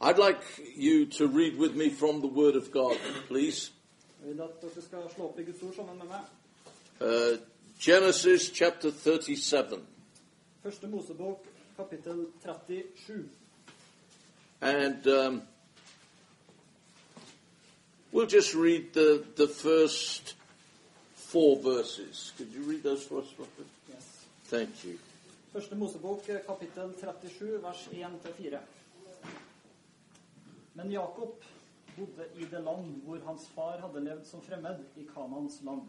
I'd like you to read with me from the Word of God, please. Jeg vil at dere skal slå opp i Guds ord sammen med meg. Uh, Genesis chapter 37. Første Mosebok, kapittel 37. And um, we'll just read the, the first four verses. Could you read those for us, Robert? Yes. Thank you. Første Mosebok, eh, kapittel 37, vers 1-4. Men Jakob bodde i det land hvor hans far hadde levd som fremmed, i Kanans land.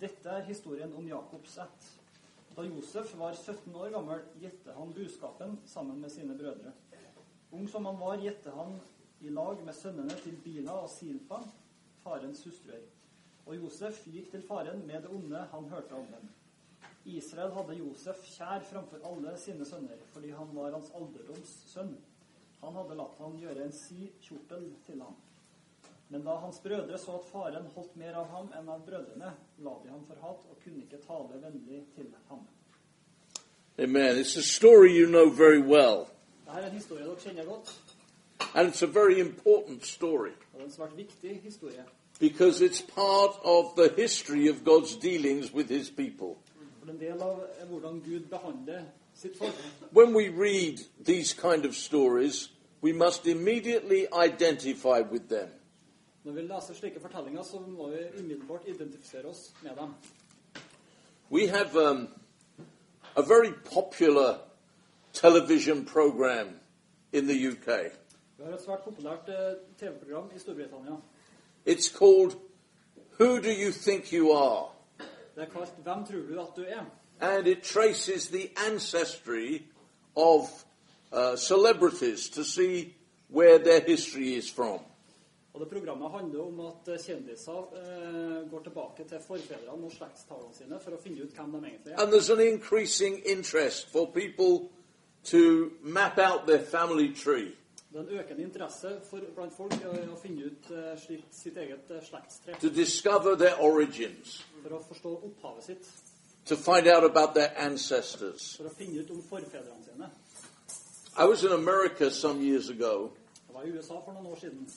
Dette er historien om Jakobs ett. Da Josef var 17 år gammel, gjette han buskapen sammen med sine brødre. Ung som han var, gjette han i lag med sønnene til Bila og Silpa, farens hustruer. Og Josef gikk til faren med det onde han hørte om dem. Israel hadde Josef kjær framfor alle sine sønner, fordi han var hans alderdoms sønn. Han hadde latt han gjøre en si kjortel til ham. Men da hans brødre så at faren holdt mer av ham enn av brødrene, la de ham for hat og kunne ikke tale vennlig til ham. Amen. It's a story you know very well, Dette er en historie dere kjenner godt, and it's a very important story og det er en svært viktig historie. because it's part of the history of God's dealings with his people. For det er en del av hvordan Gud behandler sitt folk. When we read these kind of stories, we must immediately identify with them. Når vi leser slike fortellinger, så må vi umiddelbart identifisere oss med dem. We have um, a very popular television program in the UK. Vi har et svært populært eh, TV-program i Storbritannia. It's called Who Do You Think You Are? Det er kalt 'Hvem tror du at du er?' And it traces the ancestry of uh, celebrities to see where their history is from. Og det Programmet handler om at eh, kjendiser eh, går tilbake til forfedrene og slektstavlene sine for å finne ut hvem de egentlig er. And there's an increasing interest for people to map out their family tree. Det er en økende interesse for, blant folk i å, i å finne ut eh, slikt, sitt eget eh, slektstre. to discover their origins, For å forstå opphavet sitt. to find out about their ancestors. For å finne ut om forfedrene sine. I was in America some years ago, Jeg var i USA for noen år siden.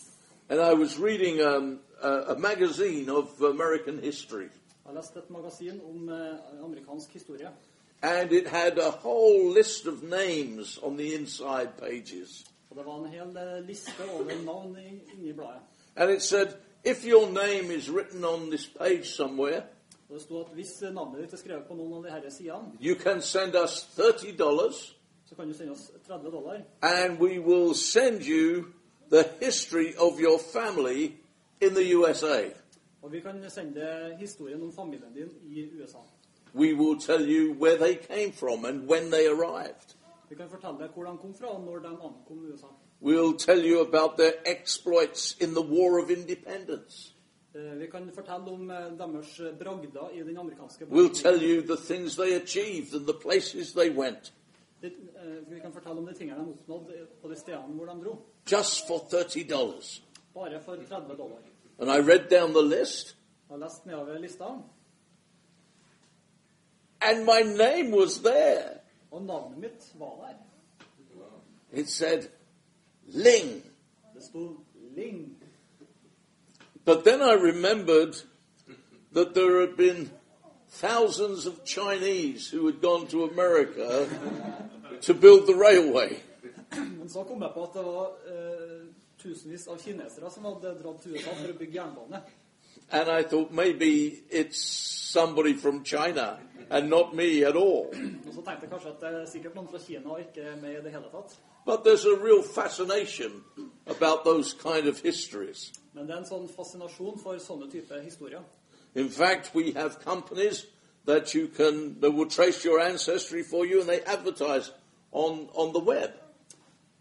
and I was reading um, a, a magazine of American history, Jeg leste et magasin om eh, amerikansk historie. and it had a whole list of names on the inside pages. Og Det var en hel eh, liste over navn i- inni bladet. And it said, if your name is written on this page somewhere, Og Det sto at hvis eh, navnet ditt er skrevet på noen av de disse sidene, you can send us $30 så kan du sende oss 30 dollar. and we will send you the history of your family in the USA. Og vi kan sende historien om familien din i USA. We will tell you where they came from and when they arrived. Vi kan fortelle hvor de kom fra, og når de ankom USA. We'll tell you about their exploits in the War of Independence. Eh, Vi kan fortelle om eh, deres bragder i den amerikanske We'll tell you the things they achieved and the places they went, Det- eh, Vi kan fortelle om de tingene de oppnådde eh, på de stedene hvor de dro. just for $30. Bare for 30 dollar. Jeg And I read down the list, har lest nedover lista, and my name was there. og navnet mitt var der. It said Ling. Det sto Ling. But then I remembered that there had been thousands of Chinese who had gone to America to build the railway. Men så kom jeg på at det var eh, tusenvis av kinesere som hadde dratt til USA for å bygge jernbane. And I thought maybe it's somebody from China and not me at all. Og så tenkte jeg kanskje at det er sikkert noen fra Kina og ikke er med i det hele tatt. But there's a real fascination about those kind of histories. Men det er en sånn fascinasjon for sånne typer historier. In fact, we have companies that you can that will trace your ancestry for you and they advertise on, on the web.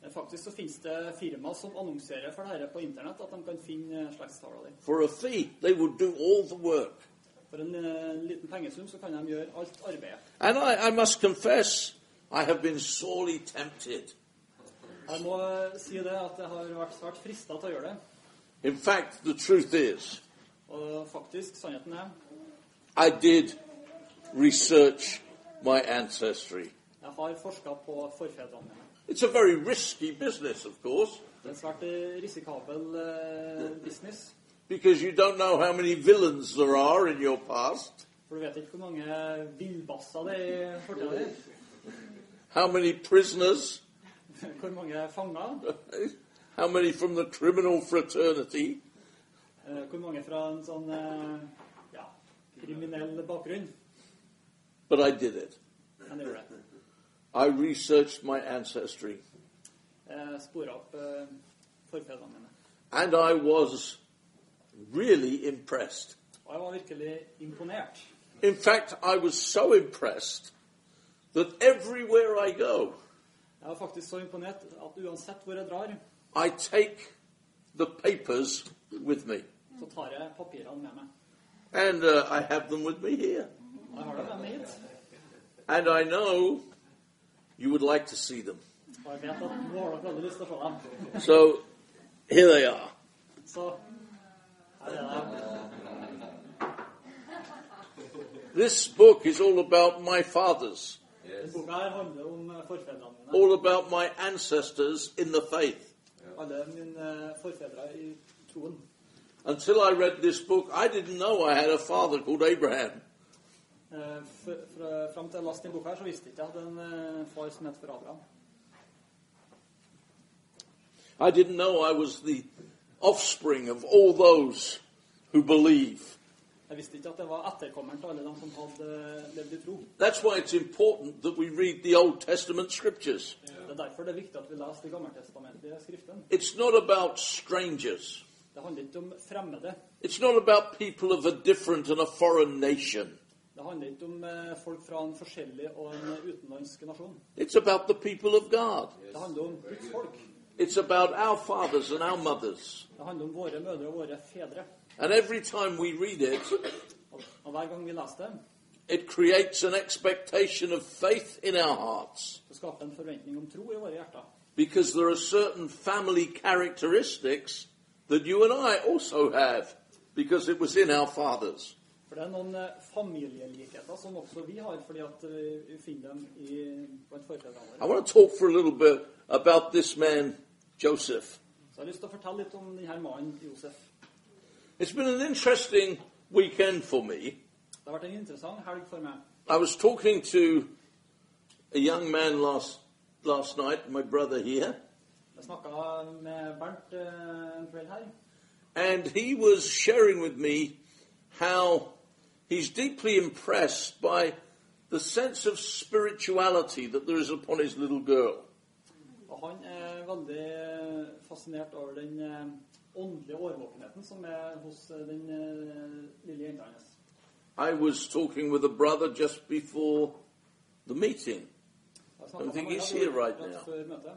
Eh, Faktisk så finnes det firmaer som annonserer for dette på internett, at de kan finne eh, slektstavla di. For a fee, they will do all the work. For en eh, liten pengesum så kan de gjøre alt arbeidet. And I, I must confess, I have been sorely tempted. Jeg må eh, si det at jeg har vært svært frista til å gjøre det. In fact, the truth is, Og faktisk, sannheten er I did research my ancestry. jeg har forska på forfedrene mine. It's a very risky business, of course, Det er en svært eh, risikabel eh, business. because you don't know how many villains there are in your past, For du vet ikke hvor mange villbasser det er i fortida di. how many prisoners, Hvor mange fanger. how many from the criminal fraternity. eh, Hvor mange fra en sånn eh, ja, kriminell bakgrunn. But I did it. Men det gjorde det. I researched my ancestry, Jeg spora opp eh, forfedrene mine. and I was really impressed. Og jeg var virkelig imponert. In fact, I was so impressed that everywhere I go, Jeg var faktisk så imponert at uansett hvor jeg drar, I take the papers with me. så tar jeg papirene med meg. And uh, I have them with me here. Og jeg har dem med meg hit. And I know you would like to see them. Og jeg vet at nå har dere veldig lyst til å få dem. So here they are. Så her er det. This book is all about my fathers, Denne boka her handler om eh, forfedrene mine. all about my ancestors in the faith. Alle mine eh, forfedre i troen. Until I read this book, I didn't know I had a father called Abraham. Eh, f- fra- Fram til jeg leste den boka her, så visste jeg ikke at jeg hadde en eh, far som het for Abraham. I didn't know I was the offspring of all those who believe. Jeg visste ikke at jeg var etterkommeren til alle dem som hadde eh, levd i tro. That's why it's important that we read the Old Testament scriptures. Det er derfor det er viktig at vi leser de gammeltestamentlige skriftene. It's not about strangers. Det handler ikke om fremmede. It's not about people of a different and a foreign nation. Det handler ikke om eh, folk fra en forskjellig og en utenlandsk nasjon. It's about the people of God. Det handler om Guds folk. It's about our fathers and our mothers. Det handler om våre mødre og våre fedre. And every time we read it, Og, og hver gang vi leser det, it creates an expectation of faith in our hearts så skaper det en forventning om tro i våre hjerter. because there are certain family characteristics that you and I also have because it was in our fathers. For det er noen eh, familielikheter som også vi har, fordi at eh, vi finner dem i, blant forfedrene I våre. want to talk for a little bit about this man, Joseph. Så jeg har lyst til å fortelle litt om denne mannen, Josef. It's been an interesting weekend for me. Det har vært en interessant helg for meg. I was talking to a young man last last night, my brother here, Jeg snakka med Bernt eh, en kveld her. and he was sharing with me how he's deeply impressed by the sense of spirituality that there is upon his little girl. Og han er veldig fascinert over den eh, åndelige årvåkenheten som er hos eh, den eh, lille jenta hennes. I was talking with a brother just before the meeting, Jeg snakket Don't think med he's Maria here right rett now. før møtet.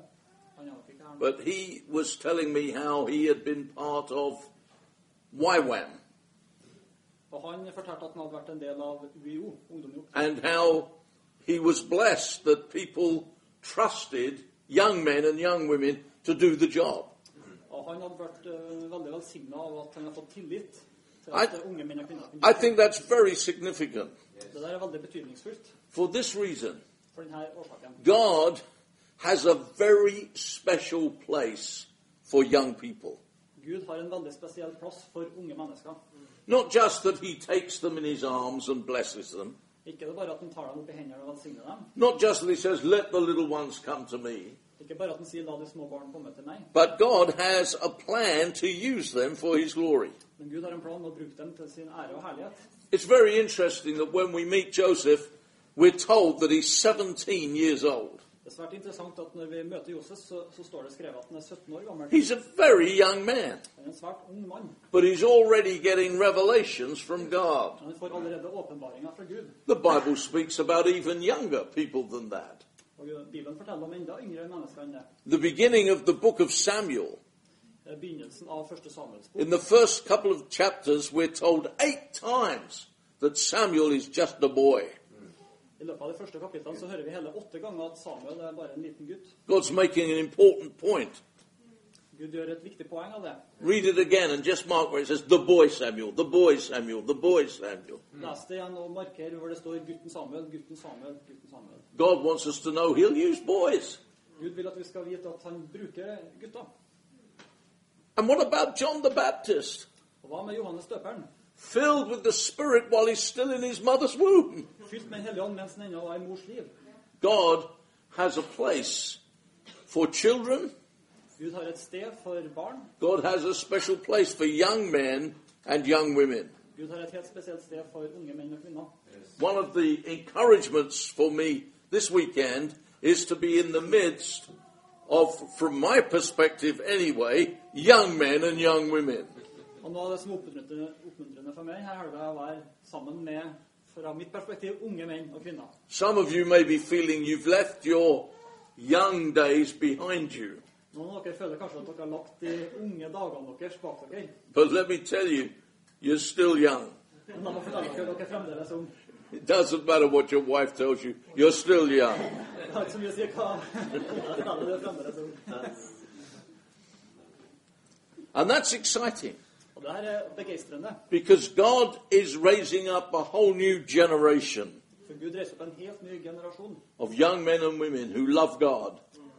Han er nok ikke her nå. but he was telling me how he had been part of YWAM Og han fortalte at han hadde vært en del av UiO, Ungdom i Oppdrag, and how he was blessed that people trusted young men and young women to do the job. Og han hadde vært eh, veldig velsigna av at han hadde fått tillit til I- at eh, unge menn og kvinner kunne I think that's very significant Det der er veldig betydningsfullt for this reason. for denne årsaken. God has a very special place for young people. Gud har en veldig spesiell plass for unge mennesker. Not just that he takes them in his arms and blesses them, Ikke det bare at han tar dem opp i hendene og velsigner dem. not just that he says, Let the little ones come to me, Ikke bare at han sier 'la de små barn komme til meg', but God has a plan to use them for his glory. men Gud har en plan med å bruke dem til sin ære og herlighet. It's very interesting that when we meet Joseph, we're told that he's 17 years old. Det er svært interessant at når vi møter Josef, så, så står det skrevet at han er 17 år gammel. He's a very young man, Han er en svært ung mann, but he's already getting revelations from God. men han får allerede åpenbaringer fra Gud. The Bible speaks about even younger people than that. Og Gud- Bibelen forteller om enda yngre mennesker enn det. The beginning of the book of Samuel, Det er begynnelsen av første Samuels bok. in the first couple of chapters, we're told eight times that Samuel is just a boy. I løpet av de første kapitlene så hører vi hele åtte ganger at Samuel er bare en liten gutt. God's making an important point. Gud gjør et viktig poeng av det. Read it again and just mark where it says, the boy Samuel, the boy Samuel, the boy Samuel. Les det igjen og marker hvor det står 'gutten Samuel', 'gutten Samuel', 'gutten Samuel'. God wants us to know he'll use boys. Gud vil at vi skal vite at han bruker gutter. And what about John the Baptist? Og hva med Johannes døperen? Filled with the Spirit while he's still in his mother's womb. Fylt med Den hellige ånd mens han ennå var i mors liv. God has a place for children, Gud har et sted for barn. God has a special place for young men and young women. Gud har et helt spesielt sted for unge menn og kvinner. One of the encouragements for me this weekend is to be in the midst of, from my perspective anyway, young men and young women. Og noe av det som er oppmuntrende, oppmuntrende for meg her helga, er å være sammen med, fra mitt perspektiv, unge menn og kvinner. Some of you may be feeling you've left your young days behind you, Noen av dere føler kanskje at dere har lagt de unge dagene deres bak dere. but let me tell you, you're still young. Men da må jeg fortelle dere at dere fremdeles er unge. It doesn't matter what your wife tells you, you're still young. Det har ikke så mye å si hva Ja, det er det, fremdeles er unge. And that's exciting Og det her er begeistrende, because God is raising up a whole new generation for Gud reiser opp en helt ny generasjon of young men and women who love God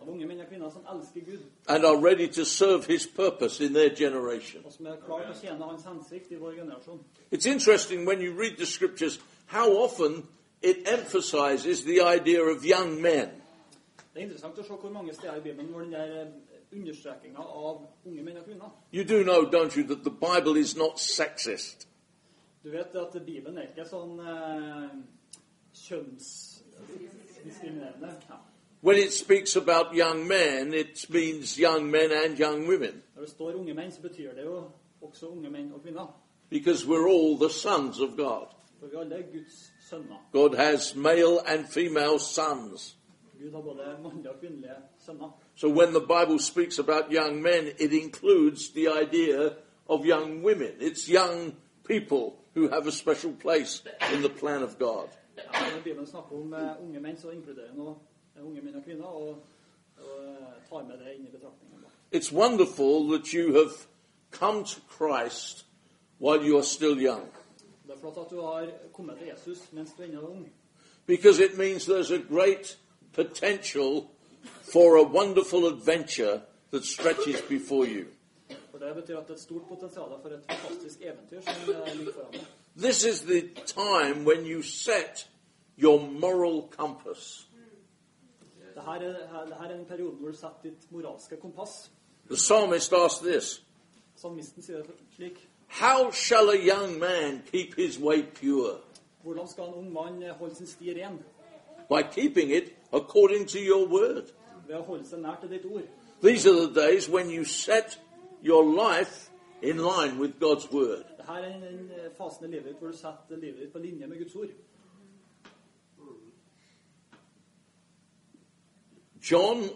av unge menn og kvinner som elsker Gud, and are ready to serve his purpose in their generation. og som er klar til å tjene hans hensikt i vår generasjon. It's interesting when you read the scriptures how often it emphasizes the idea of young men. Det er interessant å se hvor mange steder i Bibelen hvor den der understrekinga av unge menn og kvinner You do know, don't you, that the Bible is not sexist. Du vet at Bibelen er ikke sånn eh, kjønnsdiskriminerende. Ja. When it speaks about young men, it means young men and young women Når det står unge menn, så betyr det jo også unge menn og kvinner. because we're all the sons of God. For vi alle er Guds sønner. God has male and female sons. Gud har både mannlige og kvinnelige sønner. So when the Bible speaks about young men, it includes the idea of young women. It's young people who have a special place in the plan of God. Ja, Når Bibelen snakker om eh, unge menn, så inkluderer den også, eh, unge menn og kvinner, og, og eh, tar med det inn i betraktningen. It's wonderful that you have come to Christ while you are still young Det er flott at du har kommet til Jesus mens du ennå er ung. because it means there's a great potential for a wonderful adventure that stretches before you. For det betyr at det er et stort potensial for et fantastisk eventyr som eh, ligger foran deg. This is the time when you set your moral compass. Det her, er, her- det her er den perioden hvor du setter ditt moralske kompass. The psalmist asked this Salmisten sier det slik How shall a young man keep his way pure? Hvordan skal en ung mann holde sin sti ren? By keeping it according to your word. Ved å holde seg nær til ditt ord. These are the days when you set your life in line with God's word. Det her er den eh, fasen i livet ditt hvor du setter livet ditt på linje med Guds ord. John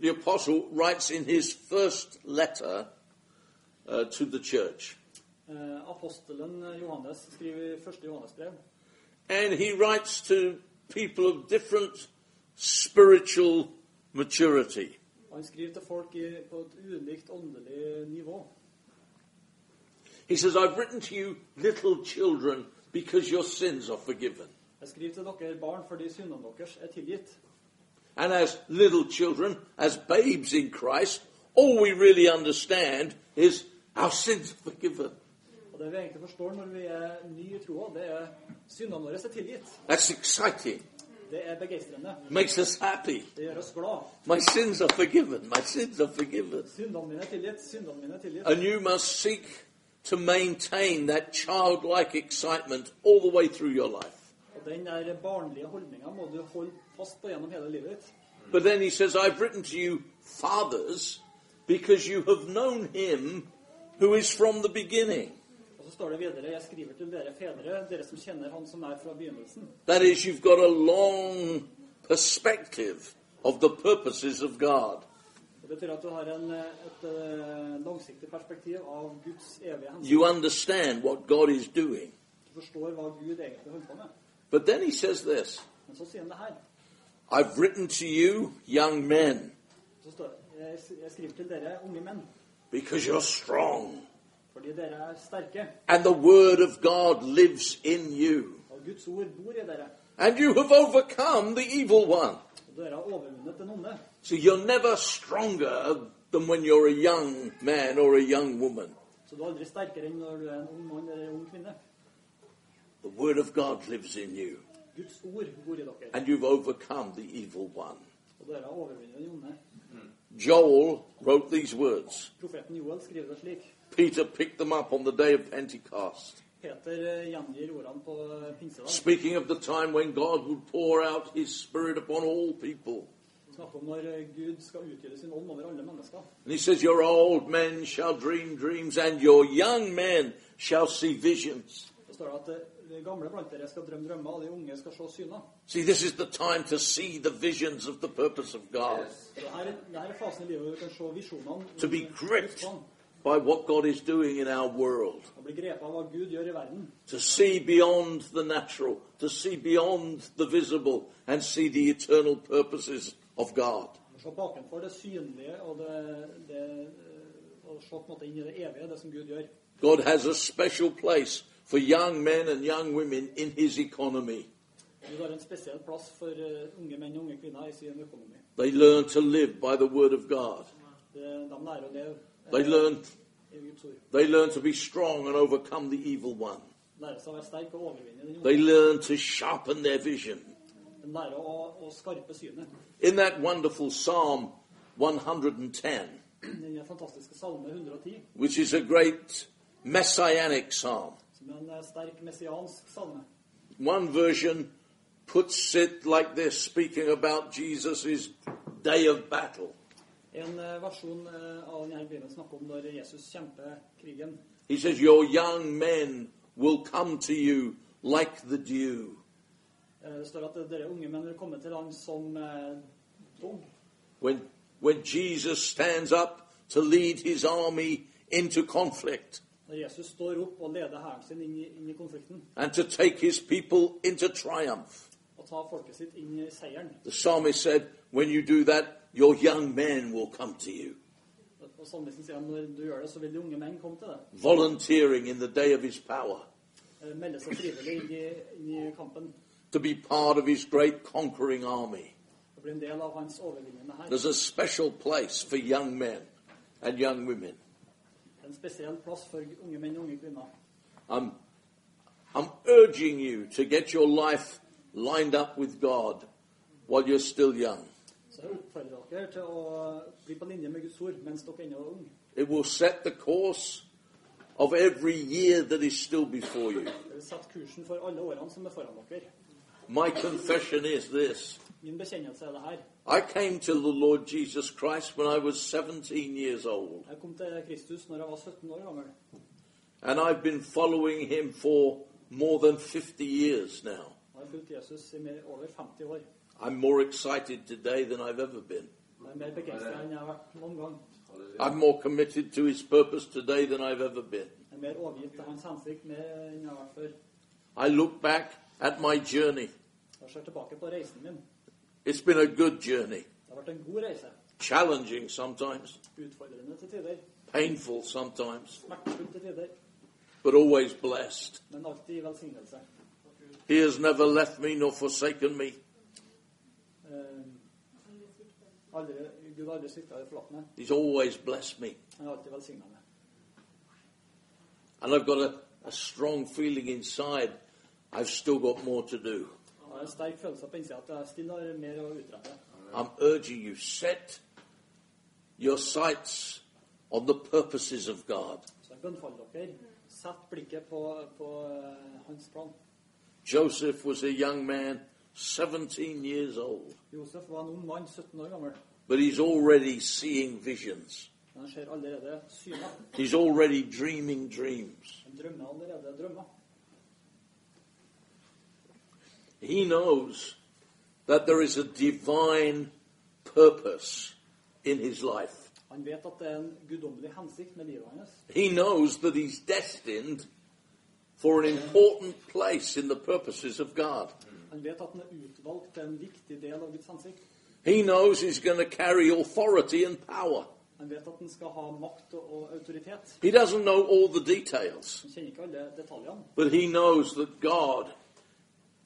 the Apostle writes in his first letter uh, to the church, Eh, apostelen Johannes skriver i første Johannesbrev. and he writes to people of different spiritual maturity. Og han skriver til folk i, på et ulikt åndelig nivå. He says, I've written to you, little children, because your sins are forgiven. Jeg skriver til dere barn fordi syndene deres er tilgitt. And as little children, as babes in Christ, all we really understand is our sins are forgiven. Og det vi egentlig forstår når vi er nye i troa, det er syndene våre er tilgitt. That's exciting. Det er begeistrende. Makes us happy. Det gjør oss glad. My sins are forgiven. My sins are forgiven. Syndene mine er tilgitt, syndene mine er tilgitt. And you must seek to maintain that childlike excitement all the way through your life. Og den der barnlige holdninga må du holde fast på gjennom hele livet ditt. But then he says, I've written to you, fathers, because you have known him who is from the beginning. Og så står det videre Jeg skriver til dere fedre, dere som kjenner Han som er fra begynnelsen. That is, you've got a long perspective of the purposes of God. Det betyr at du har en, et, eh, langsiktig perspektiv av Guds evige hensikt. You understand what God is doing. Du forstår hva Gud egentlig holder på med. But then he says this Men så sier han det her. I've written to you, young men, Så står det Jeg s- jeg skriver til dere unge menn, because you're strong, fordi dere er sterke, and the word of God lives in you, og Guds ord bor i dere. and you have overcome the evil one. Og dere har overvunnet eh? den onde. So you're never stronger than when you're a young man or a young woman. Så du er aldri sterkere enn når du er en ung mann eller en ung kvinne. The Word of God lives in you, Guds ord bor i dere, and you've overcome the evil one. og dere har overvunnet den onde. Joel wrote these words. Profeten Joel skriver det slik. Peter picked them up on the day of Pentecost, Peter eh, gjengir ordene på eh, pinsedag. speaking of the time when God would pour out his Spirit upon all people. Snakker om når eh, Gud skal utgyte sin ånd over alle mennesker. And he says, Your old men shall dream dreams, and your young men shall see visions. Så står det at eh, de gamle blant dere skal drømme drømmer, og de unge skal se syner. See, this is the time to see the visions of the purpose of God, Så det her, det her er fasen i livet hvor du kan se visjonene. to be eh, Guds gripped plan, by what God is doing in our world, Og bli grepet av hva Gud gjør i verden. to see beyond the natural, to see beyond the visible, and see the eternal purposes of God. Å Se bakenfor det synlige og det, det eh, og se på en måte inn i det evige, det som Gud gjør. God has a special place for young men and young women in his economy. Gud har en spesiell plass for eh, unge menn og unge kvinner i sin økonomi. They learn to live by the word of God. Det- De lærer å leve eh, They learn, i Guds ord. they learn to be strong and overcome the evil one. Lærer seg å være sterk og overvinne den They onde. learn to sharpen their vision. De lærer å, å skarpe synet. In that wonderful Psalm 110, Den fantastiske salme 110, which is a great messianic psalm, som er en eh, sterk messiansk salme. one version puts it like this, speaking about Jesus' day of battle. En eh, versjon eh, av denne bibelen snakker om når Jesus kjemper krigen. He says, Your young men will come to you like the dew. Eh, Det står at eh, dere unge menn vil komme til han som eh, dog. When, when Jesus stands up to lead his army into conflict Når Jesus står opp og leder hæren sin inn i, inn i konflikten and to take his people into triumph. og tar folket sitt inn i seieren. The psalmist said, When you do that, your young men will come to you, Og Salmisten sier at når du gjør det, så vil de unge menn komme til deg. volunteering in the day of his power Eh, Melde seg frivillig inn i, inn i kampen. to be part of his great conquering army. Og bli en del av hans overvinnende hær. There's a special place for young men and young women. En spesiell plass for unge menn og unge kvinner. I'm, I'm urging you to get your life lined up with God while you're still young. Så jeg oppfordrer dere til å bli på linje med Guds ord mens dere ennå er unge. It will set the course of every year that is still before you. Dere Sett kursen for alle årene som er foran dere. My confession is this Min bekjennelse er det her. I came to the Lord Jesus Christ when I was 17 years old, Jeg kom til Kristus når jeg var 17 år gammel. and I've been following him for more than 50 years now. Og jeg har fulgt Jesus i mer, over 50 år. I'm more excited today than I've ever been. Jeg er mer begeistra enn jeg har vært noen gang. I'm more committed to his purpose today than I've ever been. Jeg er mer overgitt til hans hensikt mer enn jeg har vært før. I look back at my journey. Jeg ser tilbake på reisen min. It's been a good journey, Det har vært en god reise. challenging sometimes, Utfordrende til tider. painful sometimes, Smertefullt til tider. but always blessed. Men alltid i velsignelse. He has never left me nor forsaken me. Eh, aldri, Gud har aldri svikta eller forlatt meg. He's always blessed me. Han har alltid velsigna meg. And I've got a, a strong feeling inside I've still got more to do. Jeg har en sterk følelse på innsida at jeg stille har mer å utrette. I'm urging you, set your sights on the purposes of God. Så jeg bønnfaller dere. Sett blikket på, på eh, hans plan. Joseph was a young man, 17 years old, Josef var en ung mann, 17 år gammel. but he's already seeing visions. Men han ser allerede syner. He's already dreaming dreams. Han drømmer allerede drømmer. He knows that there is a divine purpose in his life. Han vet at det er en guddommelig hensikt med livet hans. He knows that he's destined for an important place in the purposes of God. Han vet at han er utvalgt til en viktig del av Guds hensikt. He knows he's going to carry authority and power. Han vet at han skal ha makt og, og autoritet. He doesn't know all the details, Han kjenner ikke alle detaljene, but he knows that God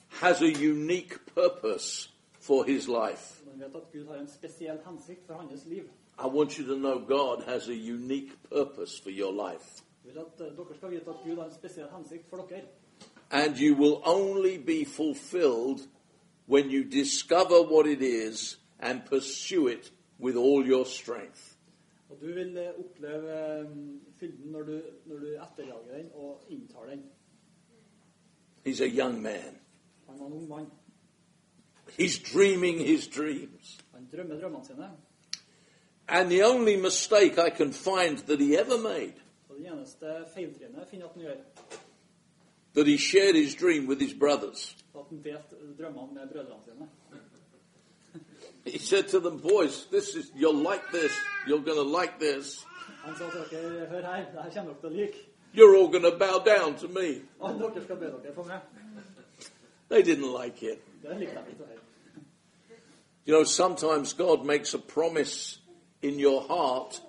has a unique purpose for his life. Man vet at Gud har en spesiell hensikt for hans liv. I want you to know God has a unique purpose for your life. Jeg vil at eh, dere skal vite at Gud har en spesiell hensikt for dere. And you will only be fulfilled when you discover what it is and pursue it with all your strength. Og du vil eh, oppleve eh, fylden når du, når du etterjager den og inntar den. He's a young man. Han var en ung mann. He's dreaming his dreams. Han drømmer drømmene sine. And the only mistake I can find that he ever made, Og det eneste feiltrinnet jeg finner at han gjør, that he shared his dream with his brothers. er at han delte drømmene med brødrene sine. He said to them, boys, this is, you'll like this. You're going to like this. Han sa til dere, hør her, det her kommer dere til å like. You're all going to bow down to me. Alle dere skal be dere for meg. They didn't like it. Det likte jeg ikke. helt. You know, sometimes God makes a promise in your heart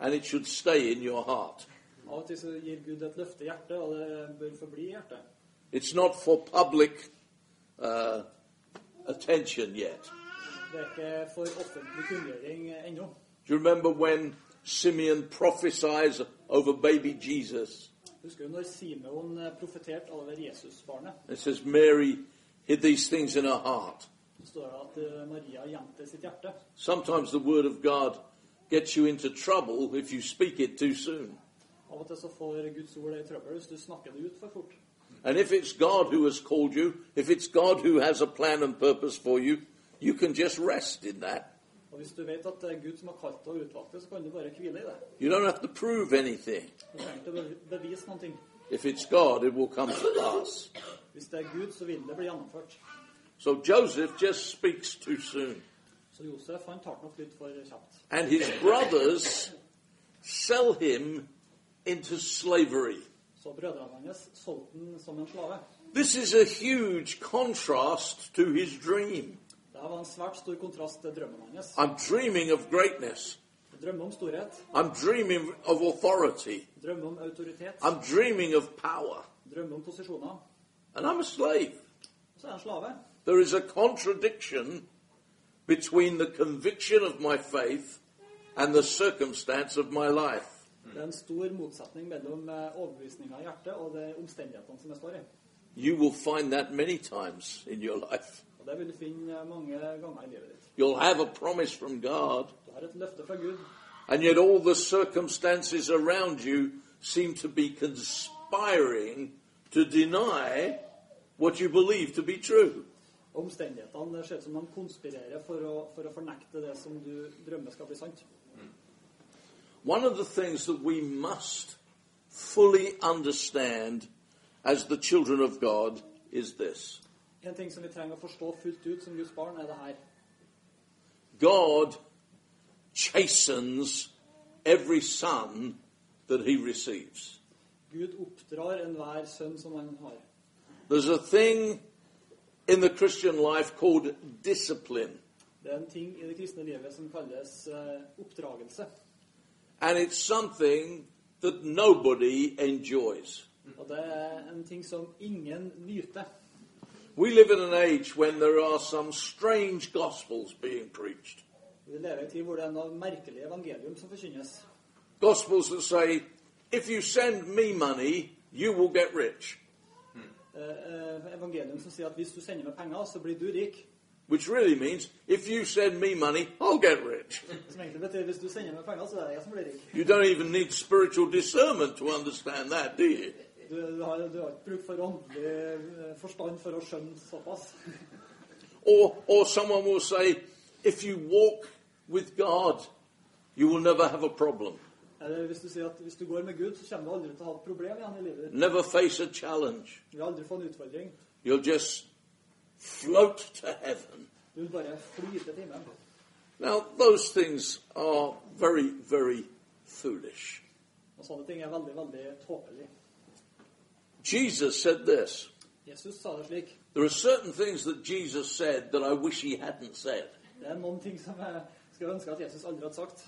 and it should stay in your heart. Av og til så gir Gud et løfte i hjertet, og det bør forbli i hjertet. It's not for public uh, attention yet. Det er ikke for offentlig kunngjøring ennå. Do you remember when Simeon prophesies over baby Jesus? Husker du når Simeon profeterte over Jesusbarnet? It says, Mary hid these things in her heart. Så står det at eh, Maria gjemte sitt hjerte. Sometimes the word of God gets you into trouble if you speak it too soon. Av og til så får Guds ord deg i trøbbel hvis du snakker det ut for fort. And if it's God who has called you, if it's God who has a plan and purpose for you, you can just rest in that. Og hvis du vet at det er Gud som har kalt deg og utvalgt deg, så kan du bare hvile i det. You don't have to prove anything. Du trenger ikke å be- bevise noen ting. If it's God, it will come to pass. Hvis det er Gud, så vil det bli gjennomført. So Joseph just speaks too soon. Så Josef han tar det nok litt for kjapt. And his brothers sell him into slavery. Så brødrene hans solgte han som en slave. This is a huge contrast to his dream. Dette var en svært stor kontrast til drømmen hans. I'm dreaming of greatness. Han drømmer om storhet, I'm dreaming of authority. drømmer om autoritet, I'm dreaming of power. drømmer om posisjoner. And I'm a slave. Og så er han slave. There is a contradiction between the conviction of my faith and the circumstance of my life. Det er en stor motsetning mellom eh, overbevisninga i hjertet og de omstendighetene som jeg står i. You will find that many times in your life. Og Det vil du finne eh, mange ganger i livet ditt. You'll have a promise from God, Du har et løfte fra Gud, and yet all the circumstances around you seem to be conspiring to deny what you believe to be true. og omstendighetene ser ut som de konspirerer for å, for å fornekte det som du drømmer skal bli sant. One of the things that we must fully understand as the children of God is this En ting som vi trenger å forstå fullt ut som Guds barn, er det her. God chastens every son that he receives. Gud oppdrar enhver sønn som han har. There's a thing in the Christian life called discipline, Det er en ting i det kristne livet som kalles eh, oppdragelse. and it's something that nobody enjoys. Og det er en ting som ingen nyter. We live in an age when there are some strange gospels being preached. Vi lever i en tid hvor det er noe merkelig evangelium som forkynnes. Gospels that say, if you send me money, you will get rich, Eh, eh, evangelium som sier at hvis du sender meg penger, så blir du rik. which really means, if you send me money, I'll get rich. Som egentlig betyr hvis du sender meg penger, så er det jeg som blir rik. You don't even need spiritual discernment to understand that, do you? Du, du, har, du har ikke bruk for åndelig eh, forstand for å skjønne såpass. Or, or someone will say, if you walk with God, you will never have a problem, Eller hvis du sier at hvis du går med Gud, så kommer du aldri til å ha et problem igjen i livet ditt. never face a challenge. Du vil aldri få en utfordring. You'll just float to heaven. Du vil bare flyte til himmelen. Now, those things are very, very foolish. Og sånne ting er veldig, veldig tåpelig. Jesus said this. Jesus sa det slik. There are certain things that Jesus said that I wish he hadn't said. Det er noen ting som jeg skulle ønske at Jesus aldri hadde sagt.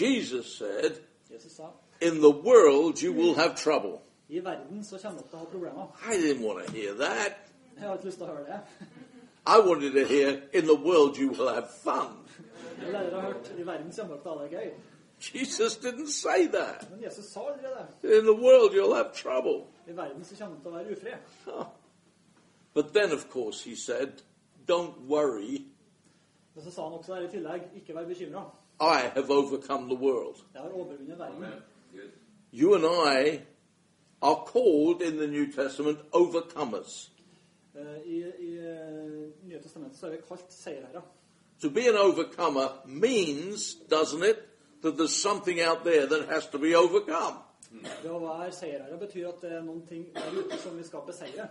Jesus said, Jesus sa In the world you will have trouble. i verden så kommer dere til å ha problemer. I didn't want to hear that. Jeg har ikke lyst til å høre det. I wanted to hear, in the world you will have fun. Jeg lærer har hørt i verden kommer dere til å ha det gøy. Jesus didn't say that. Men Jesus sa aldri det. In the world you'll have trouble. I verden så kommer det til å være ufred. But then, of course, he said, Don't worry, Men så sa han også der i tillegg, ikke vær bekymra. I have overcome the world. Jeg har overvunnet verden. Good. You and I are called in the New Testament overcomers. Eh, I, i eh, Nye testamentet så er vi kalt seierherrer. To be an overcomer means, doesn't it, that there's something out there that has to be overcome. Det å være seierherre betyr at det er noen ting der ute som vi skal beseire.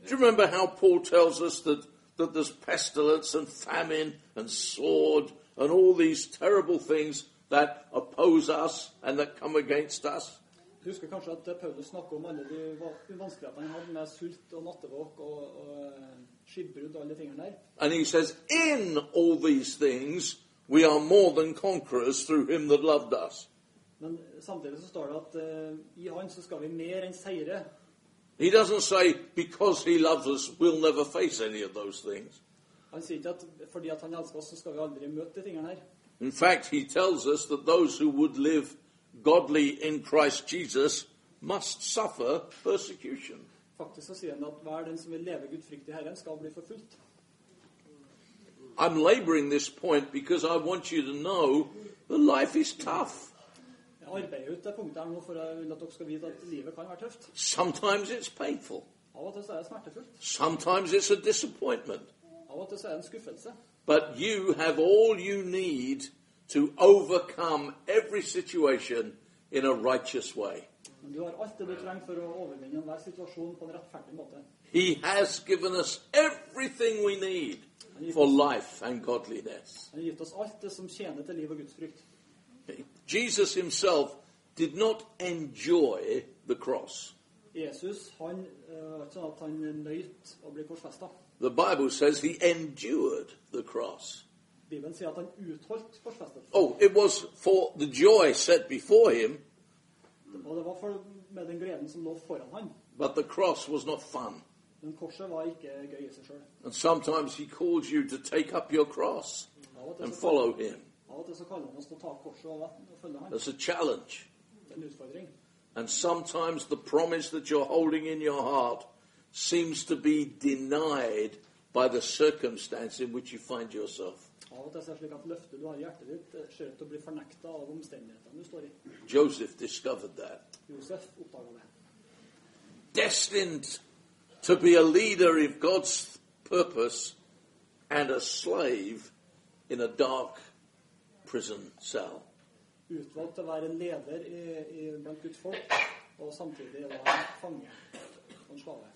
Do you remember how Paul tells us that, that there's pestilence and famine and sword and all these terrible things that oppose us and that come against us? Du husker kanskje at eh, Paulus snakker om alle de va- vanskelighetene han hadde med sult og nattevåk og, og eh, skipbrudd og alle de tingene der. And he says, In all these things we are more than conquerors through him that loved us. Men samtidig så står det at eh, i han så skal vi mer enn seire. He doesn't say, Because he loves us, we'll never face any of those things. Han sier ikke at fordi at han elsker oss, så skal vi aldri møte de tingene her. In fact, he tells us that those who would live godly in Christ Jesus must suffer persecution. Faktisk så sier han at hver den som vil leve gudfryktig i Herren, skal bli forfulgt. I'm laboring this point because I want you to know that life is tough. Jeg arbeider ut det punktet her nå for jeg vil at dere skal vite at livet kan være tøft. Sometimes it's painful. Av og til så er det smertefullt. Sometimes it's a disappointment. Av og til så er det en skuffelse. But you have all you need to overcome every situation in a righteous way. Men du har alt det du trenger for å overvinne enhver situasjon på en rettferdig måte. He has given us everything we need for life and godliness. Han har gitt oss alt det som tjener til liv og gudsfrykt. Jesus himself did not enjoy the cross. Jesus han eh, var ikke sånn at han nøyt å bli korsfesta. The Bible says he endured the cross. Bibelen sier at han utholdt korsfestelsen. Oh, it was for the joy set before him, Og det var for, med den gleden som lå foran han. but the cross was not fun. Men korset var ikke gøy i seg sjøl. And sometimes he calls you to take up your cross Av og til and så- follow him. av og til så kaller han oss til å ta korset og og følge han. That's a challenge. Det er en utfordring. And sometimes the promise that you're holding in your heart seems to be denied by the circumstance in which you find yourself. Av og til så er det slik at løftet du har i hjertet ditt, eh, ser ut til å bli fornekta av omstendighetene du står i. Joseph discovered that. Josef oppdaga det. destined to be a leader of God's purpose and a slave in a dark prison cell. Utvalgt til å være en leder i, i, blant Guds folk, og samtidig var han fange og en slave.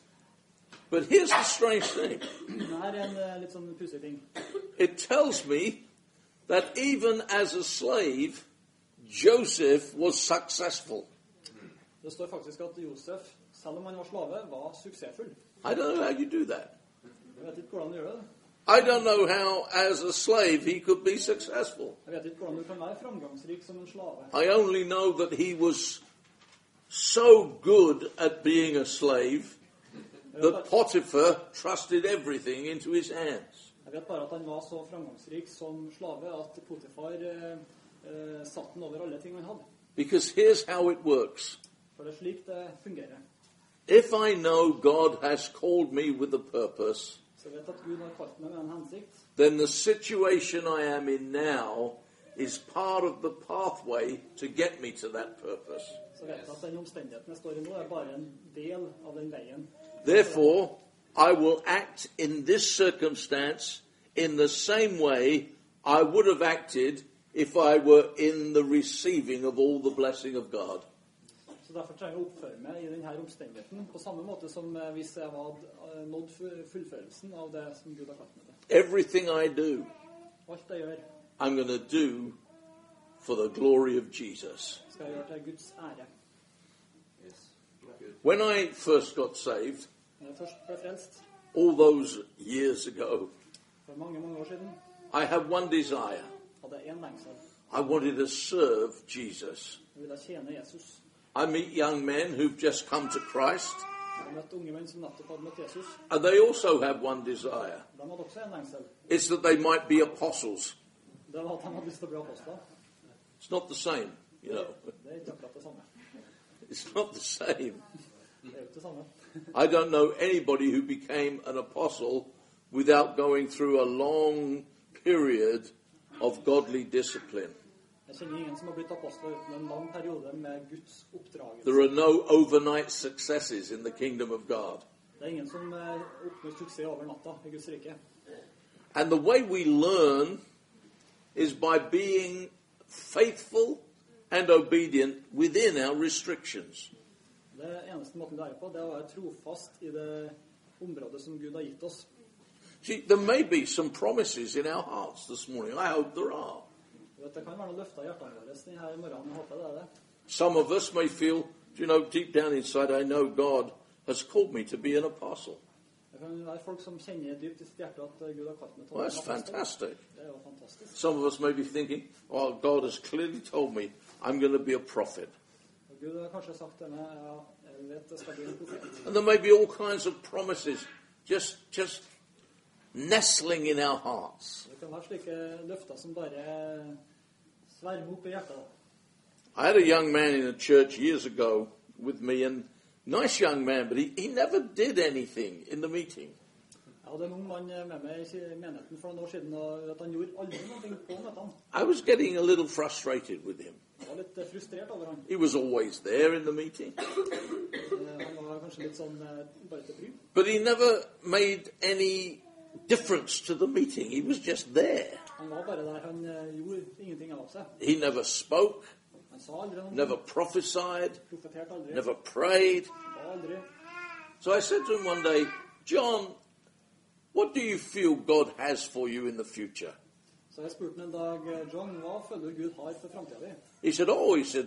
But here's the strange thing Det her er en eh, litt sånn pussig ting. it tells me that even as a slave, Joseph was successful. Det står faktisk at Josef, selv om han var slave, var suksessfull. I don't know how you do that. Jeg vet ikke hvordan du gjør det. I don't know how, as a slave, he could be successful. Jeg vet ikke hvordan du kan være framgangsrik som en slave. I only know that he was so good at being a slave that Potiphar trusted everything into his hands. Jeg vet bare at han var så framgangsrik som slave at Potifar eh, eh, satte han over alle ting han hadde. Because here's how it works For det er slik det fungerer. if I know God has called me with a purpose, Så jeg vet at Gud har kalt meg med en hensikt. then the situation I am in now is part of the pathway to get me to that purpose. Så jeg vet at den omstendigheten jeg står i nå, er bare en del av den veien. Therefore, I will act in this circumstance in the same way I would have acted if I were in the receiving of all the blessing of God. Så derfor trenger jeg å oppføre meg i denne omstendigheten på samme måte som eh, hvis jeg hadde eh, nådd fu- fullførelsen av det som Gud har kalt meg til. Everything I do, Alt jeg gjør, I'm going to do for the glory of Jesus. skal jeg gjøre til Guds ære. Yes. Good. When I first got saved, Når jeg først ble frelst all those years ago, for mange, mange år siden, I had one desire. hadde jeg én lengsel. I wanted to serve Jesus. Jeg ville tjene Jesus. I meet young men who've just come to Christ Jeg møtte unge menn som nettopp hadde møtt Jesus. And they also have one desire De hadde også en lengsel. it's that they might be apostles. Det var at de hadde lyst til å bli apostler. It's not the same, you know. Det er ikke akkurat det samme. It's not the same. Det er jo ikke det samme. I don't know anybody who became an apostle without going through a long period of godly discipline. Jeg kjenner ingen som har blitt apostler uten en lang periode med Guds oppdragelse. There are no overnight successes in the kingdom of God. Det er ingen som eh, oppnår suksess over natta i Guds rike. And the way we learn is by being faithful and obedient within our restrictions. Det eneste måten det er på, det er å være trofast i det området som Gud har gitt oss. See, there may be some promises in our hearts this morning. I hope there are. Du vet, det kan være noe løfta i hjertene våre denne morgenen. Jeg håper det er det. Some of us may feel, you know, deep down inside, I know God has called me to be an apostle. Det kan være folk som kjenner dypt i sitt hjerte at eh, Gud har kalt meg til å Well, that's være apostel. fantastic. Det er jo fantastisk. Some of us may be thinking, oh, God has clearly told me I'm going to be a prophet. Og Gud har kanskje sagt til meg ja, jeg vet det skal bli en profet. And there may be all kinds of promises just, just nestling in our hearts. Det kan være slike løfter som bare svermer opp i hjertet. I had a young man in a church years ago with me, and nice young man, but he, he never did anything in the meeting. Jeg hadde en ung mann med meg i menigheten for noen år siden, og vet, du, han gjorde aldri noe på møtene. I was getting a little frustrated with him. Jeg var litt eh, frustrert over han. He was always there in the meeting, Eh, Han var kanskje litt sånn eh, bare til bry. but he never made any difference to the meeting. He was just there. Han var bare der. Han eh, gjorde ingenting av seg. He never spoke, Han sa aldri noe. never prophesied, Profeterte aldri. never prayed. Ba aldri. So I said to him one day, John, what do you feel God has for you in the future? Så jeg spurte han en dag eh, John, hva føler du Gud har for framtida di? He said, Oh, he said,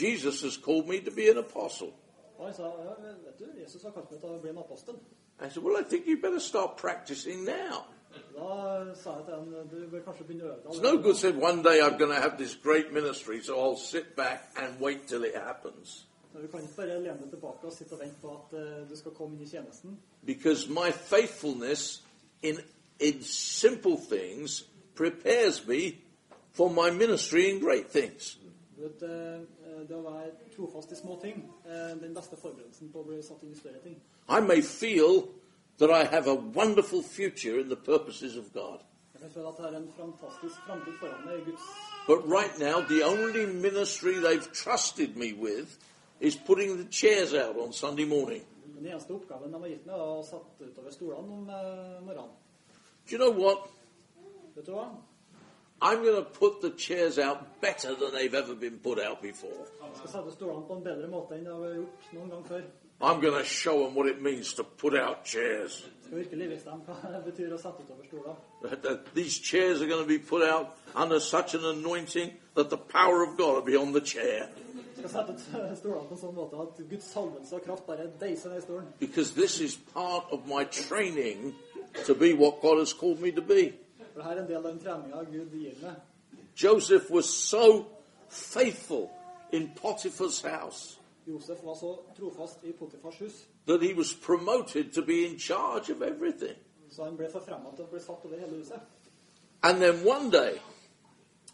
Jesus has called me to be an apostle. Og han sa ja, men vet du, Jesus har kalt meg til å bli en apostel. I said, Well, I think you better start practicing now. Da sa jeg til han du bør kanskje begynne å øve deg. It's no allerede good nå.» saying one day I'm going to have this great ministry, so I'll sit back and wait till it happens. Du kan ikke bare lene deg tilbake og sitte og vente på at eh, du skal komme inn i tjenesten. Because my faithfulness in, in simple things prepares me for my ministry in great things. Du vet, eh, eh, Det å være trofast i små ting eh, den beste forberedelsen på å bli satt inn i større ting. I may feel that I have a wonderful future in the purposes of God. Jeg kan føle at det er en fantastisk framtid foran meg i Guds But right now, the only ministry they've trusted me with is putting the chairs out on Sunday morning. Den eneste oppgaven de har gitt meg, er å sette utover stolene om eh, morgenen. Do you know what? Vet du hva? I'm going to put the chairs out better than they've ever been put out before. Jeg skal sette stolene på en bedre måte enn det har vært gjort noen gang før. I'm going to show them what it means to put out chairs. Jeg skal virkelig vise dem hva det betyr å sette utover stoler. That- that These chairs are going to be put out under such an anointing that the power of God will be on the chair. Jeg skal sette ut stolene på en sånn måte at Guds salvelse og kraft bare deiser ned i stolen. Because this is part of my training to be what God has called me to be. For dette er en del av den treninga Gud gir meg. Joseph was so faithful in Potiphar's house Josef var så trofast i Potifars hus, that he was promoted to be in charge of everything. så han ble forfremma til å bli satt over hele huset. And then one day,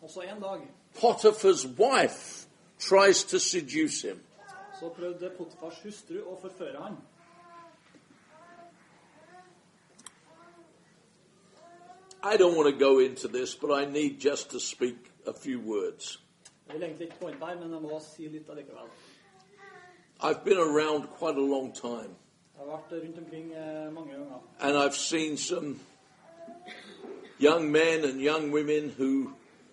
Og så en dag Potiphar's wife tries to seduce him. så prøvde Potifars hustru å forføre han. I don't want to go into this, but I need just to speak a few words. Jeg vil egentlig ikke gå inn der, men jeg må si litt allikevel. I've been around quite a long time, Jeg har vært rundt omkring eh, mange ganger. and I've seen some young men and young women who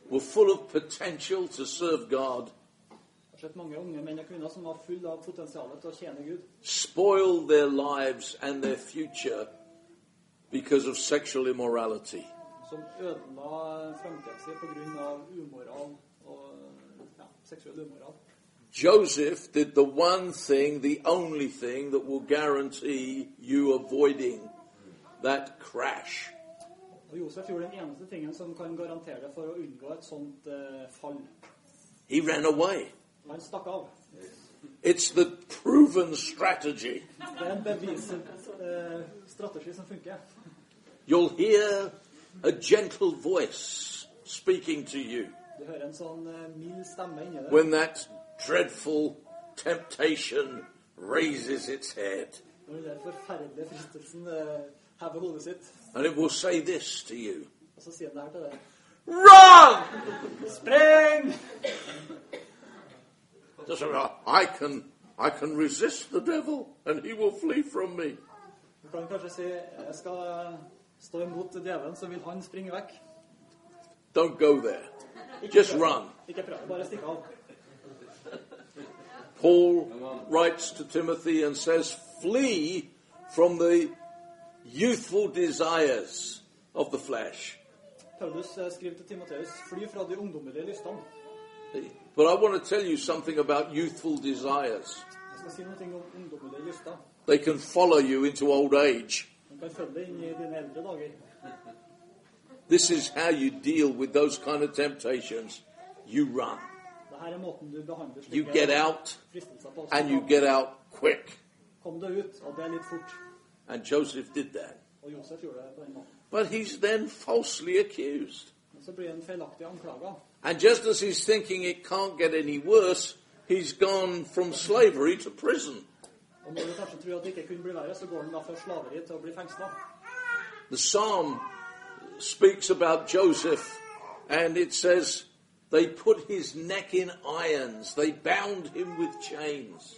were full of potential to serve God Jeg har sett mange unge menn og kvinner som var fulle av potensial til å tjene Gud. spoil their lives and their future because of sexual immorality. Som ødela framtida si pga. umoral og ja, seksuell umoral. Joseph did the one thing, the only thing that will guarantee you avoiding that crash. Og Josef gjorde den eneste tingen som kan garantere deg for å unngå et sånt eh, fall. He ran away. Og han stakk av. It's the proven strategy. Det er en beviset eh, strategi som funker. You'll hear a gentle voice speaking to you Du hører en sånn eh, mild stemme inni deg when that dreadful temptation raises its head. når den der forferdelige fristelsen eh, hever hodet sitt. And it will say this to you Og så sier den det her til deg. Run! Spreng! Doesn't matter. I can, I can resist the devil and he will flee from me. Du kan kanskje si jeg skal stå imot djevelen, så vil han springe vekk. Don't go there. Just run. Ikke prøv, bare stikk av. Paul writes to Timothy and says, Flee from the youthful desires of the flesh. Paulus eh, skriver til Timoteus fly fra de ungdommelige lystene. But I want to tell you something about youthful desires. Jeg skal si noe om ungdommelige lyster. They can follow you into old age. De kan følge deg inn i dine eldre dager. This is how you deal with those kind of temptations. You run, Dette er måten du behandler you get out, fristelser på. and you get out quick. Kom deg ut, og det er litt fort. And Joseph did that. Og Josef gjorde det på den måten. But he's then falsely accused. Men så blir han feilaktig anklaga. And just as he's thinking it can't get any worse, he's gone from slavery to prison. Og når du kanskje tror at det ikke kunne bli verre, så går han da fra slaveri til å bli fengsla. The psalm speaks about Joseph, and it says, They put his neck in irons, they bound him with chains.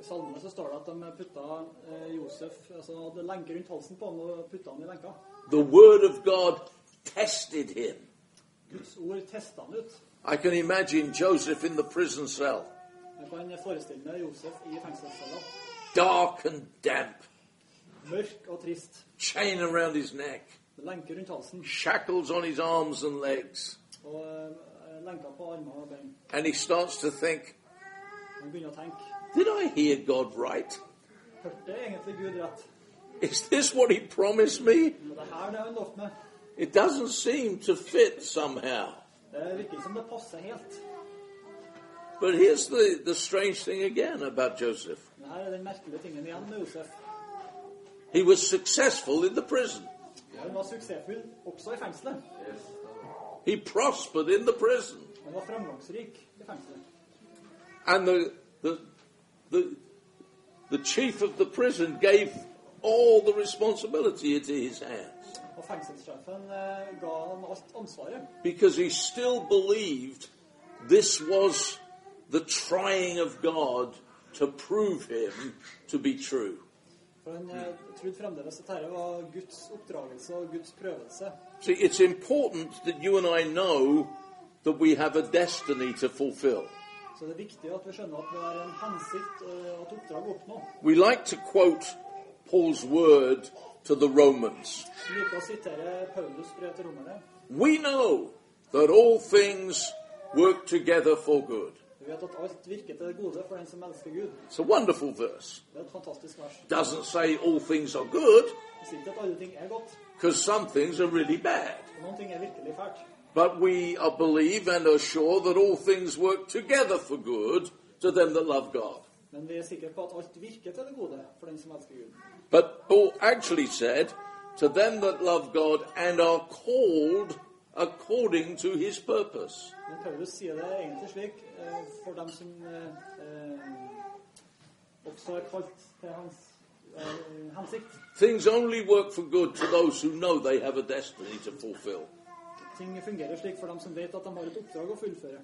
I salmene så står det at de putta eh, Josef altså hadde lenke rundt halsen på han og putta han i lenka. The word of God tested him. Guds ord testa han ut. I can imagine Joseph in the prison cell, Jeg kan forestille meg Josef i fengselscella. dark and damp, Mørk og trist. chain around his neck, Med lenke rundt halsen shackles on his arms and legs. og eh, lenker på armer og bein. And he starts to think, Han begynner å tenke. Did I hear God right? Hørte egentlig Gud rett? Is this what he promised me? Og det her det har han lovt meg. It doesn't seem to fit somehow. Det virker ikke som det passer helt. But here's the, the strange thing again about Joseph. Men her er den merkelige tingen igjen med Josef. He was successful in the prison. Han var suksessfull også i fengselet. He prospered in the prison. Han var framgangsrik i fengselet. And the, the, the, the chief of the prison gave all the responsibility into his hands Og fengselssjefen eh, ga han alt ansvaret. because he still believed this was the trying of God to prove him to be true. For han eh, trodde fremdeles at dette var Guds oppdragelse og Guds prøvelse. See, it's important that you and I know that we have a destiny to fulfill. Så det er viktig at vi skjønner at vi har en hensikt eh, og et oppdrag å oppnå. We like to quote Paul's word to the Romans. Vi liker å sitere Paulus brev til romerne. We know that all things work together for good. Vi vet at alt virker til det gode for den som elsker Gud. It's a wonderful verse. Det er et fantastisk vers. Doesn't say all things are good, Det sier ikke at alle ting er godt, because some things are really bad. og noen ting er virkelig fælt. But we are believe and are sure that all things work together for good to them that love God. Men vi er sikre på at alt virker til det gode for den som elsker Gud. But Paul actually said, to them that love God and are called according to his purpose. Men Paulus sier det egentlig slik eh, for dem som eh, eh, også er kalt til hans eh, hensikt. Things only work for good to those who know they have a destiny to fulfill. Ting fungerer slik for dem som vet at de har et oppdrag å fullføre.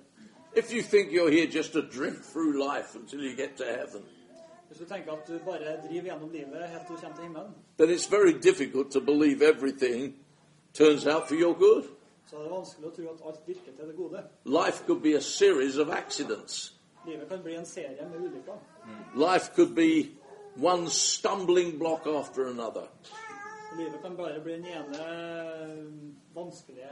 If you think you're here just to drift through life until you get to heaven, Hvis du tenker at du bare driver gjennom livet helt til du kommer til himmelen, then it's very difficult to believe everything turns out for your good. så er det vanskelig å tro at alt virker til det gode. Life could be a series of accidents. Livet kan bli en serie med ulykker. Life could be one stumbling block after another. Livet kan bare bli den ene eh, vanskelige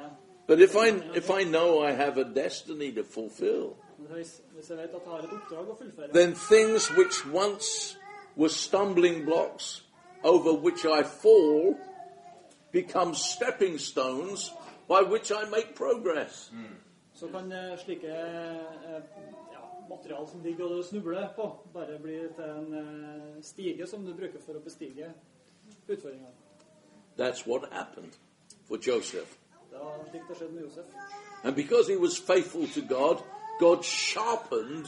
But if I, if I know I have a destiny to fulfill, Men Hvis hvis jeg vet at jeg har et oppdrag å fullføre, then things which once were stumbling blocks over which I fall become stepping stones by which I make progress. så kan eh, slike eh, ja, materiale som ligger og du snubler på, bare blir til en eh, stige som du bruker for å bestige utfordringene. That's what happened for Joseph. Det var slik det skjedde med Josef. And because he was faithful to God, God sharpened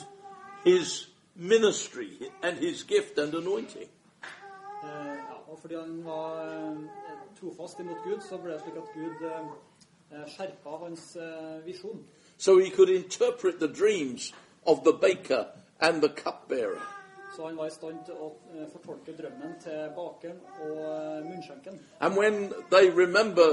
his ministry and his gift and anointing. Eh, ja, og fordi han var eh, trofast imot Gud, så ble det slik at Gud eh, eh, skjerpa hans eh, visjon. So he could interpret the dreams of the baker and the cupbearer. Så han var i stand til å eh, fortolke drømmen til bakeren og eh, munnskjenken. And when they remember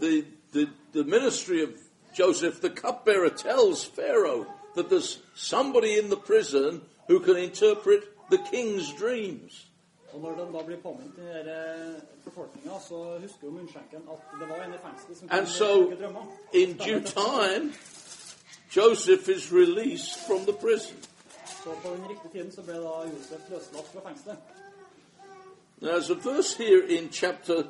the, the, the ministry of Joseph, the cupbearer tells Pharaoh that there's somebody in the prison who can interpret the king's dreams. Og når de da blir påminnet i denne fortolkninga, så husker jo munnskjenken at det var en i fengselet som And kunne so, tolke drømmer. in due time, Joseph is released from the prison. Så på den riktige tiden så ble da Josef løslatt fra fengselet. Now, there's a verse here in chapter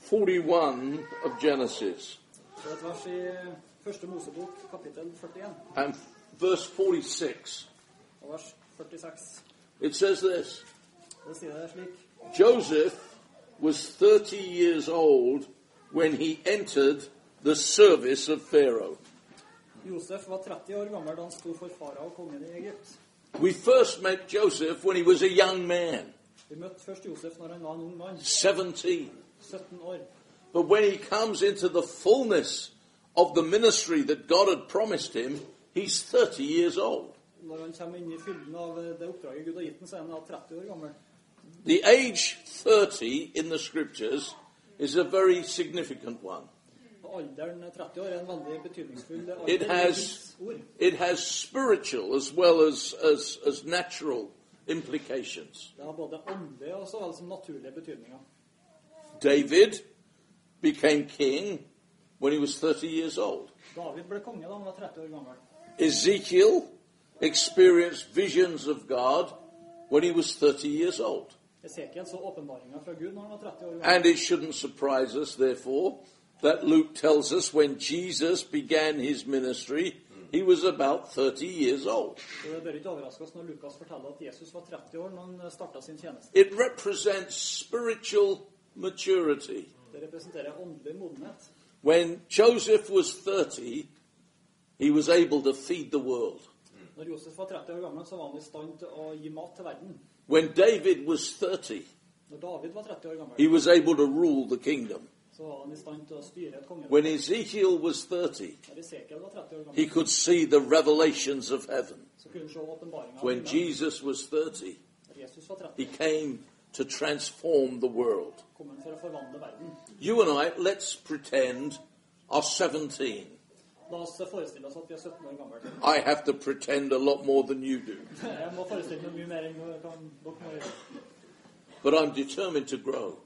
41 of Genesis, Så det er et vers i første Mosebok, kapittel 41, and verse 46. og vers 46. It says this Det sier det slik Joseph was 30 years old when he entered the service of Pharaoh. Josef var 30 år gammel da han sto for farao, kongen i Egypt. We first met Joseph when he was a young man, Vi møtte først Josef når han var en ung mann, 17. 17 år. But when he comes into the fullness of the ministry that God had promised him, he's 30 years old. Når han kommer inn i fylden av det oppdraget Gud har gitt ham, så er han da 30 år gammel. The age 30 in the scriptures is a very significant one. Og alderen 30 år er en veldig betydningsfull alder. It i has, Guds ord. it has spiritual as well as, as, as natural implications. Det har både åndelige og så vel som naturlige betydninger. David became king when he was 30 years old. David ble konge da han var 30 år gammel. Ezekiel experienced visions of God when he was 30 years old. Esekiel så åpenbaringa fra Gud når han var 30 år gammel. And it shouldn't surprise us, therefore, that Luke tells us when Jesus began his ministry, he was about 30 years old. Så det bør ikke overraske oss når Lukas forteller at Jesus var 30 år når han starta sin tjeneste. It represents spiritual maturity. Det representerer åndelig modenhet. When Joseph was 30, he was able to feed the world. Når Josef var 30 år gammel, så var han i stand til å gi mat til verden. When David was 30, Når David var 30 år he gammel, was able to rule the kingdom. så var han i stand til å styre et kongerike. When Ezekiel was 30, Når Esekiel var 30 år he gammel, could see the revelations of heaven. så kunne han se åpenbaringa. av When himmelen. Jesus was 30, Når Jesus var he 30, came to transform the world. kom han for å forvandle verden. You and I, let's pretend, are 17. La oss forestille oss at vi er 17 år gamle. I have to pretend a lot more than you do, Jeg må forestille meg mye mer enn jeg kan dere må gjøre. but I'm determined to grow.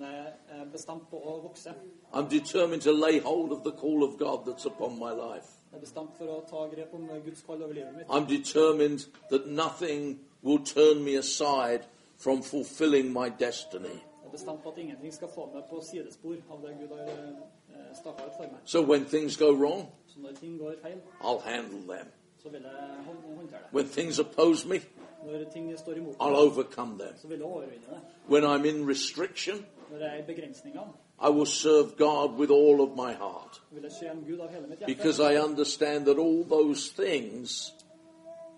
Men jeg er bestemt på å vokse. Jeg I'm determined to lay hold of the call of God that's upon my life. er bestemt for å ta grep om Guds kall over livet mitt. I'm determined that nothing will turn me aside from fulfilling my destiny. Jeg er bestemt på at ingenting skal få meg på sidespor av det Gud har eh, staket ut for meg. So when things go wrong, Så når ting går feil, I'll handle them. så vil jeg hånd- håndtere det. When things oppose me, Når ting står imot I'll meg, overcome them. så vil jeg overvinne det. When I'm in restriction, Når jeg er i begrensningene, I will serve God with all of my heart så vil jeg tjene Gud av hele mitt hjerte. because I understand that all those things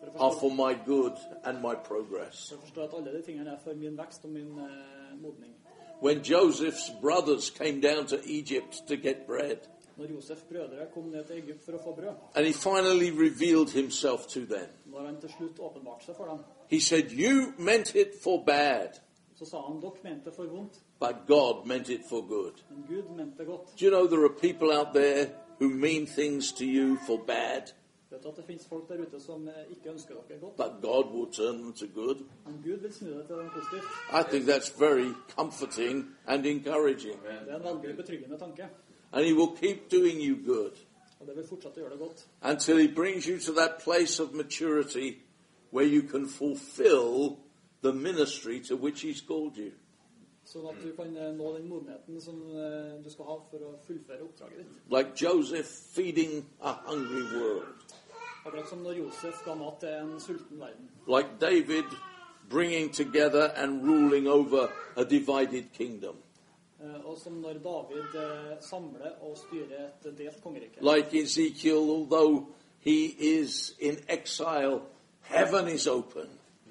For å are forstå, for my good and my progress. for å forstå at alle de tingene er for min vekst og min eh, modning. When Joseph's brothers came down to Egypt to get bread, Når Josef brødre kom ned til Egypt for å få brød, and he finally revealed himself to them, når han til slutt åpenbarte seg for dem, he said, You meant it for bad, så sa han dere mente det for vondt, but God meant it for good. men Gud mente det godt. Do you know there are people out there who mean things to you for bad, Vet du at det finnes folk der ute som eh, ikke ønsker dere godt, but God will turn them to good? men Gud vil snu det til noe positivt. I think that's very comforting and encouraging. Det er en veldig betryggende tanke, And He will keep doing you good og det vil fortsette å gjøre det godt. until He brings you to that place of maturity where you can fulfill the ministry to which He's called you. Sånn at du kan eh, nå den modenheten som eh, du skal ha for å fullføre oppdraget ditt. Like Joseph feeding a hungry world. Akkurat som når Josef ga mat til en sulten verden. like David bringing together and ruling over a divided kingdom, Eh, Og som når David eh, samler og styrer et delt kongerike. like Ezekiel, although he is in exile, heaven is open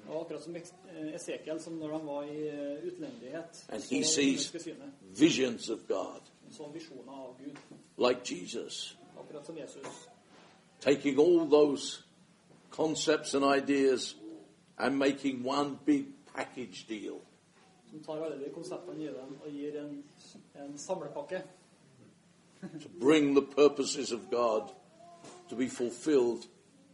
Og akkurat som Eks- eh, Esekiel, som når han var i eh, utlendighet, And så he var sees- himmelske synet, visions of God, så han visjoner av Gud. like Jesus, Akkurat som Jesus. taking all those concepts and ideas and making one big package deal. Som tar alle de konseptene i dem og gir en, en samlepakke. to bring the purposes of God to be fulfilled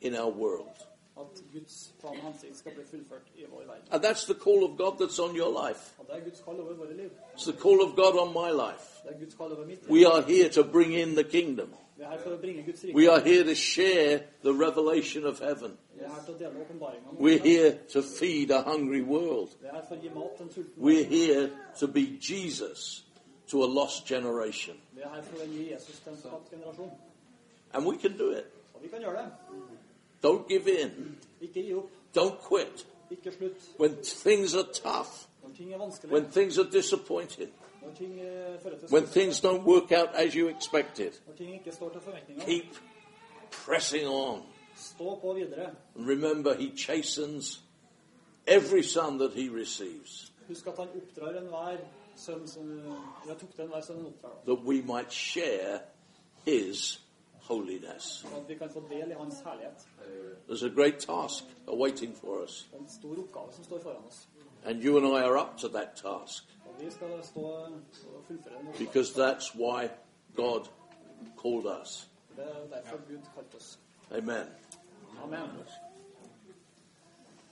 in our world. At Guds plan og hensikt skal bli fullført i vår verden. And that's the call of God that's on your life. Og det er Guds kall over våre liv. It's the call of God on my life. Det er Guds kall over mitt liv. We are here to bring in the kingdom. Vi er her for å bringe Guds rike. We are here to share the revelation of heaven. Vi er her til å dele åpenbaringa. We're here to feed a hungry world. Vi er her for å gi mat til en sulten We're here to be Jesus to a lost generation. Vi er her for å gi Jesus til en fortapt generasjon. And we can do it. Og vi kan gjøre det. Don't give in. Ikke gi opp. Don't quit. Ikke slutt. When things are tough, Når ting er vanskelig, when things are disappointing, når ting eh, fører til when skuffelse, things don't work out as you expected, når ting ikke står til forventningene, keep pressing on. stå på videre. And remember, he chastens every son that he receives, Husk at han oppdrar enhver sønn som Eller tok til enhver sønn han oppdrar. da. that we might share his holiness. Sånn at vi kan få del i hans herlighet. There's a great task awaiting for us, Det er en stor oppgave som står foran oss. and you and I are up to that task Og vi skal stå og fullføre den oppgaven. because that's why God called us. Det er derfor Gud kalte oss. Amen. Amen.